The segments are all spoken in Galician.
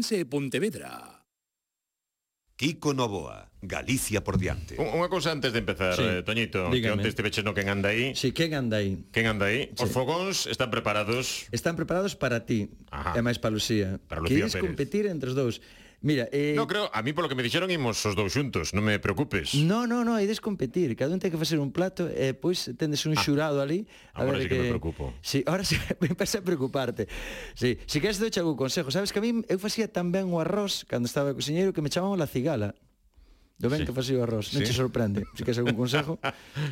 Se Pontevedra. Kiko Novoa, Galicia por diante. Un- Unha cousa antes de empezar, Sí. eh, Toñito, que Dígame. onte estiveches no quen anda aí. Si, quen anda aí? Quen anda aí? Os Sí. fogóns están preparados. Están preparados para ti Ajá. E máis para Lucía Para Lucía Queres Pérez. competir entre os dous Mira, eh, No creo, a mí polo que me dixeron imos os dous xuntos, non me preocupes. No, no, no, ides competir, cada un ten que facer un plato e pois tendes un xurado ali Ah. Agora sí que me preocupo. Si, ahora sí, me pasa a preocuparte. Si, si queres doche algún consejo, sabes que a min eu facía tan ben o arroz cando estaba cociñeiro que me chamaban la cigala. Do ben Sí. sí. que facía o arroz, non Sí. che sorprende. Si queres algún consejo?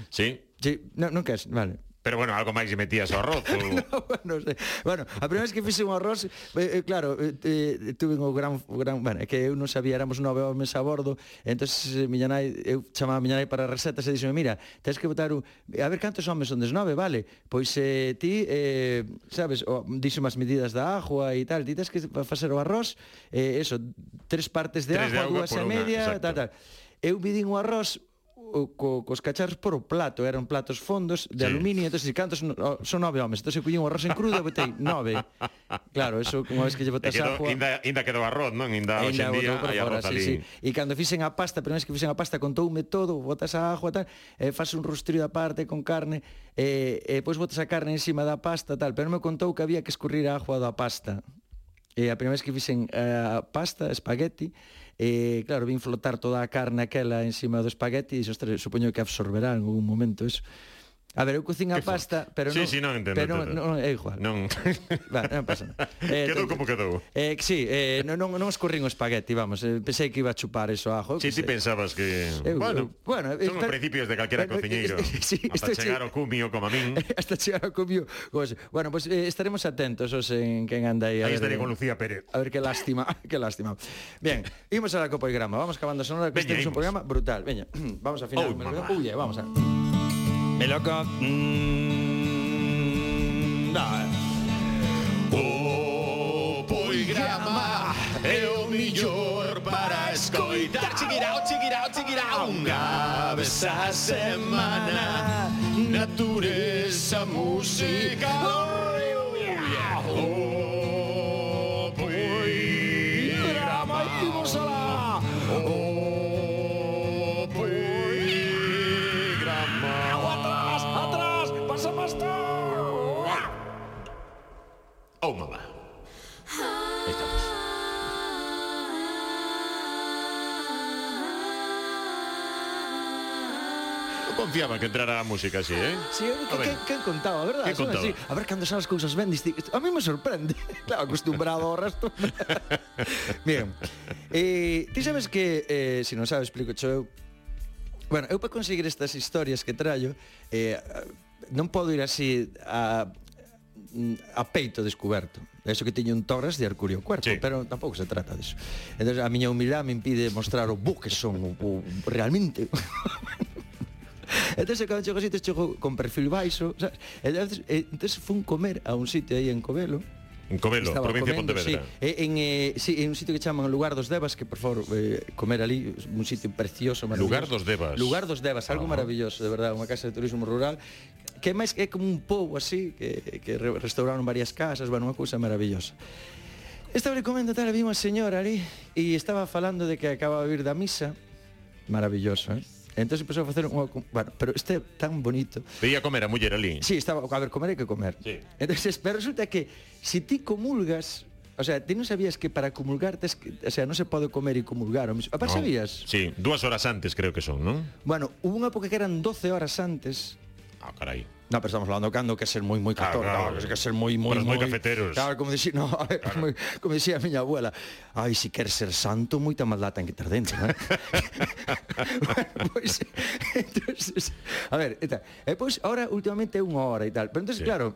Sí. si, no, non queres, vale. Pero bueno, algo máis lle metías ao arroz. ou- bueno, sí. bueno, a primeira vez que fixe un arroz, eh, eh, claro, eh, eh, tuve o gran, o gran, bueno, é que eu non sabía, éramos nove homens a bordo, entón eh, miña nai, eu chamaba a miña nai para recetas e dixome, mira, tens que botar un, a ver cantos homens son nove, vale, pois eh, ti, eh, sabes, o, dixome as medidas da agua e tal, ti tens que fa- facer o arroz, eh, eso, tres partes de Tres de agua agua, dúas por e unha, media, exacto. tal, tal. Eu vidín o arroz o, co, cos cacharros por o plato, eran platos fondos de Sí. sí. aluminio, entón, si cantos no- o- son nove homens, entón eu collín o arroz en crudo e botei nove. Claro, eso unha vez que lle E botas quedou, agua... inda, inda quedou arroz, non? Inda, hoxe Ainda en día botou por hai fora, arroz sí, ali. sí. E cando fixen a pasta, pero non que fixen a pasta, contoume todo, botas a ajo e tal, eh, fas un rostrillo da parte con carne, e eh, eh, pois botas a carne encima da pasta tal, pero non me contou que había que escurrir a agua da pasta. E a primeira vez que fixen eh, pasta, espagueti, eh, claro, vin flotar toda a carne aquela encima do espagueti e dixo, "Ostras, supoño que absorberá en algún momento eso. A ver, eu cocín a Qué forte. pasta, pero Sí, non, sí, non entendo, pero entendo. non, é igual. Non. Va, non pasa nada. Eh, quedou ten- como quedou. Eh, que sí, eh, non, non, non escorrín o espagueti, vamos eh, Pensei que iba a chupar eso a ajo Si ti pensabas que... Eu- bueno, eu- bueno, eh, son os pero- principios de calquera pero- cociñeiro. Sí, Hasta esto che- chegar ao cumio como a min. Hasta chegar ao comio Pues, bueno, pues eh, estaremos atentos os en quen anda aí Aí a ver, estaré eh, con Lucía Pérez. A ver, qué lástima, qué lástima. Bien, imos a la Copa y Grama. Vamos acabando sonora, que Veña, este es un imos. programa brutal. Veña, vamos a Oh, final. mamá. Uy, vamos a ver. Meloco. Mm, da. O poigrama é o millor para escoitar Chiquirao, chiquirao, chiquirao Unha vez a semana Natureza, música oi, oi, oi. O poigrama Imos alá O poigrama Atrás, atrás, pasa máis Oh, mamá. Ahí estamos. Non confiaba que entrara a música así, eh? Sí, eu- A que, ver. que, que han contado, a verdade? Que son contaba? así. A ver, cando son as cousas ben distintas. A mí me sorprende. Claro, acostumbrado ao resto. Bien. Eh, ti sabes que, eh, se non sabes, explico eu. Bueno, eu para conseguir estas historias que traio, eh, non podo ir así a a peito descoberto. Eso que teño un torres de arcurio cuerpo, Sí. sí. pero tampouco se trata disso. Entón, a miña humildade me impide mostrar o bo que son, o, o realmente Entón, cando chego a sitios, chego con perfil baixo, sabes? Entón, entón fun comer a un sitio aí en Covelo, En Covelo, Estaba provincia de comendo, Pontevedra. Sí, eh, en, eh, sí, en un sitio que chaman Lugar dos Devas, que por favor, eh, comer ali, un sitio precioso, maravilloso. Lugar dos Devas. Lugar dos Devas, algo Ah. maravilloso, de verdade, unha casa de turismo rural que é máis é como un pobo así que, que re- restauraron varias casas, bueno, unha cousa maravillosa. Estaba recomendo tal, vi unha señora ali e estaba falando de que acaba de vir da misa. Maravilloso, eh? Entón empezou a facer unha... com- Bueno, pero este é tan bonito Veía comer a muller ali. Sí, estaba, a ver, comer hai que comer. Sí. Entonces, pero resulta que si ti comulgas, o sea, ti non sabías que para comulgar tes que, o sea, non se pode comer e comulgar. ao mesmo- No. Apa, no. sabías? Sí, dúas horas antes creo que son, non? Bueno, hubo unha época que eran 12 horas antes Ah, carai. No, pero estamos hablando cando que ser moi moi Ah, católico, claro. claro, que ser moi moi Pero moi cafeteros. Claro, como dixi, no, a ver, como, como dixía a miña abuela, ai, se si queres ser santo, moita maldad ten que ter dentro, eh? bueno, pois, entonces, a ver, e tal. E pois ahora últimamente é unha hora e tal. Pero entonces, Sí. sí. claro,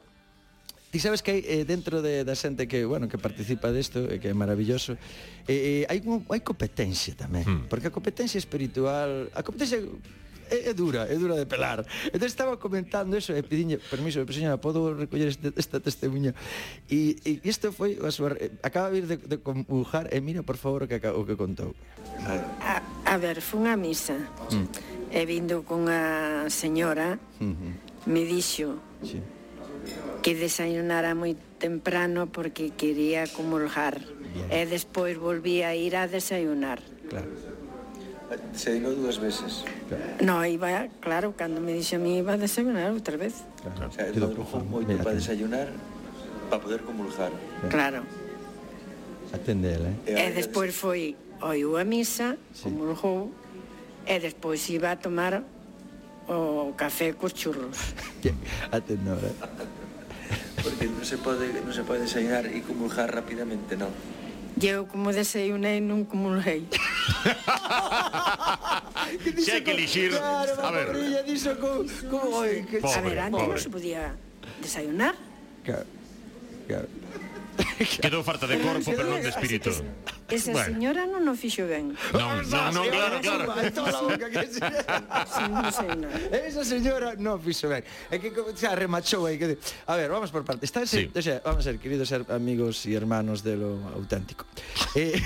Ti sabes que hai eh, dentro de, da xente que, bueno, que participa desto, e que é maravilloso, eh, eh, hai, un, hai competencia tamén, Mm. mm. porque a competencia espiritual, a competencia é, é dura, é dura de pelar. Entón estaba comentando eso e pediñe permiso, "Pero, señora, podo recoller este, esta testemunha. E e isto foi a súa, re- acaba de vir de, de comulgar e mira, por favor, o que acabo, o que contou. A, a ver, fun a misa e vindo cunha señora me dixo Sí. que desayunara moi temprano porque quería comulgar. e despois volví a ir a desayunar. Claro. Se dino dúas veces. No, iba, claro, cando me dixo a mí iba a desayunar outra vez. O sea, Quedou madrugou profundo. moito Mira, para ten- desayunar, para poder comulgar. Claro. Atende ela, eh? E despois foi oiu a misa, sí. comulgou, e despois iba a tomar o café cos churros. Que- Atende ela. Porque non se pode, non se pode desayunar e comulgar rapidamente, non. E eu como desayunei non comulguei. Si hai que elixir... Claro, A ver, Ella dixo co, co, oi, que... Pobre, a ver, antes non pobre. se podía desayunar. Claro, claro. quedou farta de corpo, pero non de espírito. Es- Esa Bueno. señora non o fixo ben. Non, non, non, claro, claro. Ai, toda la boca que se... Sin desayunar. Esa señora non fixo ben. É que como xa remachou aí que... di- A ver, vamos por partes. Está Sí. sí. o sea, vamos a ver, queridos her- amigos e hermanos de lo auténtico. Eh,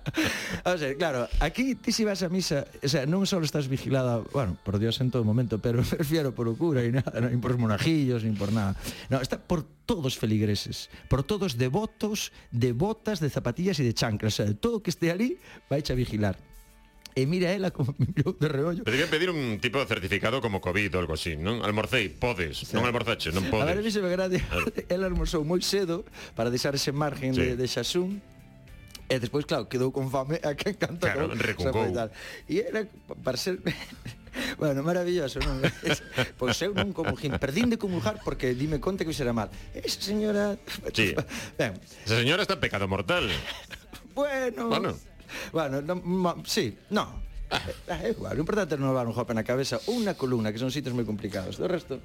vamos a ver, claro, aquí ti si vas a misa, o sea, non só estás vigilada, bueno, por Dios en todo momento, pero me refiero por o cura e nada, nin por os monajillos, nin por nada. No, está por todos feligreses, por todos devotos, de botas, de zapatillas e de chanclas, o sea, todo o que este ali vai a vigilar. E mira ela como me mirou de reollo. Pero debían pedir un tipo de certificado como COVID ou algo así, non? Almorcei, podes, non almorzache, non A ver, podes. me gracia, ela almorzou moi cedo para deixar ese margen sí. Sí. de, de Xasún E despois, claro, quedou con fame a que encanta Claro, recuncou. E era para ser... Bueno, maravilloso, non? pois eu non comulgín. Perdín de comulgar porque dime conta que xera mal. Esa señora... Sí. Ben, Esa señora está en pecado mortal. bueno... Bueno. Bueno, no, ma, sí, no. Eh, É igual, o importante é non levar un jope na cabeza ou unha columna, que son sitios moi complicados. Do resto,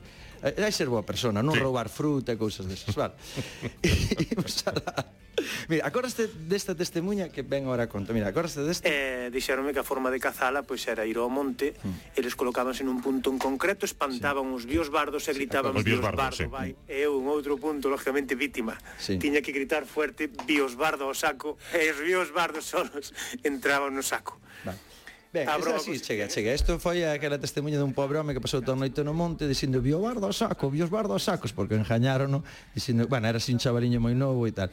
eh, hai ser boa persona, non sí. Sí. roubar fruta e cousas desas, vale. E imos a dar- Mira, acordaste desta testemunha que ven ahora a conto. Mira, acordaste desta? eh, dixeronme que a forma de cazala pois era ir ao monte, mm. eles colocábanse nun punto en concreto, espantaban sí. os bios bardos e gritaban Os os bios bios bardos, bardo, sí. vai. E eu en outro punto, lógicamente, vítima. Sí. Tiña que gritar fuerte bios bardo ao saco e os bios bardos solos entraban no saco. Vale. Ben, A esta, broma sí, cos- chega, chega. Isto foi aquela testemunha dun pobre home que pasou toda a noite no monte dicindo vio bardo a saco, vio os bardo a sacos, porque engañarono, dicindo, bueno, era sin chavaliño moi novo e tal.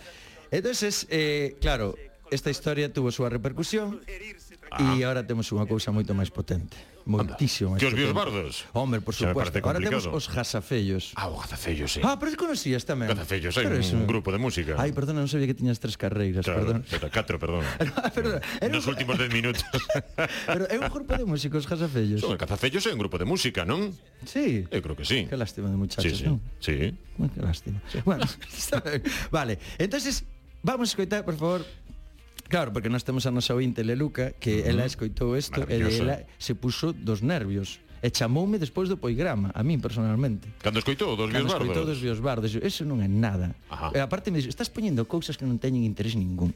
Entonces, eh, claro, esta historia tuvo a súa repercusión e agora temos unha cousa moito máis potente. Moitísimo máis Ah. Que os bios potente. bardos? Home, por Xa me suposto. parece Agora temos complicado. os jasafellos. Ah, o Gazafello, sí. Ah, pero ti conocías tamén. Gazafellos, hai un Pero eso- grupo de música. Ai, perdona, non sabía que tiñas tres carreiras, Claro, perdón. Ah, perdón. Catro, perdón. perdón. Era Nos un, últimos 10 minutos. pero é un grupo de músicos jasafellos. Son, Gazafellos é un grupo de música, non? Sí. Eu creo que sí. Qué lástima de muchachos, Sí, sí. non? Sí. Bueno, qué lástima. Bueno, está ben. vale. Entonces, vamos a escoitar, por favor, Claro, porque nós temos a nosa ointe Leluca Que ela escoitou isto E Maravilloso. ela se puso dos nervios E chamoume despois do poigrama A mí personalmente Cando escoitou dos bios Cando escoitou bardos. dos bios bardos eu, Eso non é nada Ajá. E aparte me dixo Estás poñendo cousas que non teñen interés ningún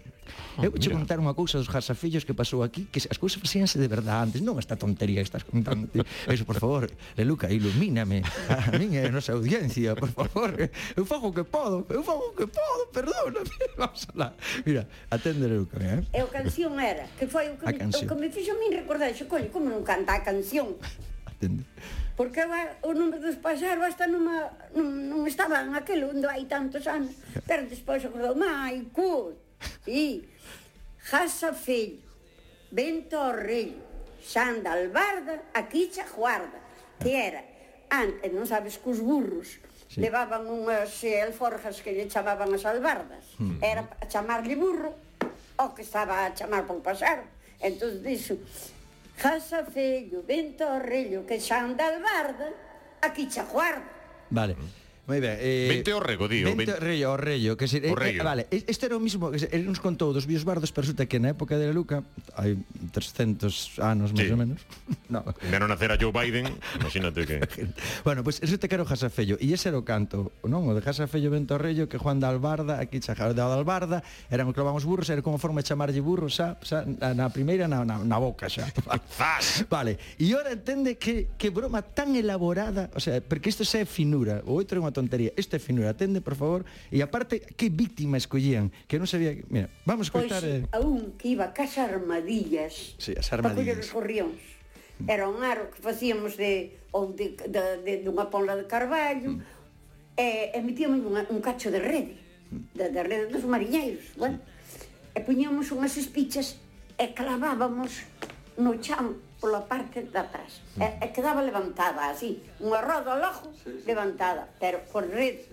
Eu Ah, vou mira. contar unha cousa dos jasafellos que pasou aquí Que as cousas facíanse de verdade antes Non esta tontería que estás contando ti. Eso, por favor, Leluca, ilumíname A min e a nosa audiencia, por favor Eu fago o que podo Eu fago o que podo, perdóname Vamos alá Mira, atende Leluca, mira, eh? E a canción era, que foi o A que, me, canción. o que me fixo a min recordar, xo, coño, como non canta a canción? Atende Porque va, o número dos pasaros hasta numa, non, non estaba en aquel onde hai tantos anos. Pero despois acordou, mai, cu, e jasa fillo, vento ao rei, xanda albarda, aquí xa guarda. Que era, antes, non sabes que os burros, Sí. sí. levaban unhas eh, alforjas que lle chamaban as albardas. Mm. Era pa chamarlle burro, o que estaba a chamar por pasar. Entón dixo, Casa feio, vento ao rello, que xa anda albarda, aquí xa guarda. Vale. Moi ben. Eh, Vente ao rego, di, o Vente ven- ao rello, ao rello. Que se, O rello. Eh, vale, e- isto era o mismo, que se- el nos contou dos bios bardos, pero resulta que na época de Luca, hai 300 anos, máis Sí. ou menos. no. Vieron nacer a Joe Biden, imagínate que... Bueno, pois pues, resulta que era o Jasafello E ese era o canto, non? O de Jasafello Vento ao Rello Que Juan da Albarda, aquí xa Juan da Albarda Eran o que levaban os burros, era como forma de chamarlle burros xa, xa, na, na primeira na, na, na boca xa ¡Zas! Vale, e ora entende que, que broma tan elaborada O sea, porque isto xa é finura O outro é unha tontería, isto é finura Atende, por favor E aparte, que víctima escollían Que non sabía que... Mira, vamos Pois coitar eh... a un que iba cas armadillas Sí, as pa coller armadillas os gorrións. Era un aro que facíamos de, ou de, de, de, dunha ponla de carballo Mm. Mm. e, e metíamos un, un cacho de rede, de, de rede dos mariñeiros. Bueno. e puñamos unhas espichas e clavábamos no chan pola parte de atrás. Mm. E, e quedaba levantada así, unha roda lojo levantada, pero por rede.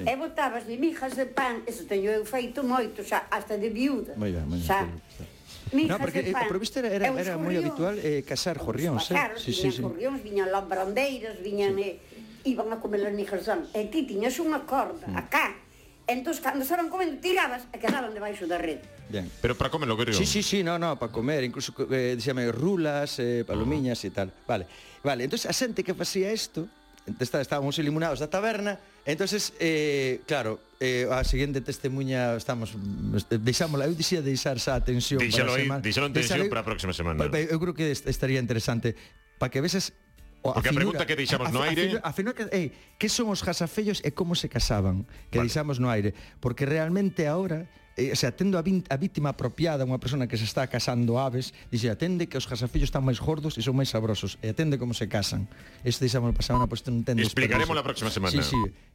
E botabas de mijas de pan, eso teño eu feito moito, xa, hasta de viuda. Moi ben, moi ben, xa. Felipe. Mijas No, porque, de eh, pan. por visto, era- era- E os era moi gorrións. habitual, eh, casar Os gorrións, eh. paxaros, Sí, sí, viñan sí. gorrións, viñan lambrandeiras, viñan... Eh, iban a comer as mijas de pan. E ti tiñas unha corda, Mm. acá. Entón, cando estaban comendo, tirabas e quedaban debaixo da rede. Ben. Pero para comerlo, creo. Sí, sí, sí, no, no, para comer, incluso eh, díxame rulas, Ah. eh, palomiñas e tal. Vale. Vale, entonces a xente que facía isto, ent- está- estábamos eliminados da taberna, entonces eh claro, eh, a seguinte testemunha estamos este, deixámola, eu dixía deixar xa a tensión Deixalo para a aí, semana. deixalo en tensión Deixalo- para a próxima semana. Pa- pa- Eu pues, creo que est- estaría interesante para que veses o- Porque a pregunta que deixamos a- no a aire- figura- a final que, ei, que son os jasafellos e como se casaban, que vale. deixamos no aire, porque realmente ahora Eh, o sea, tendo a, vin, a víctima apropiada unha persona que se está casando aves dixe, atende que os jasafellos están máis gordos e son máis sabrosos e atende como se casan isto deixamos pasar unha pois tú non entendes Explicaremos pero la próxima semana. sí, sí.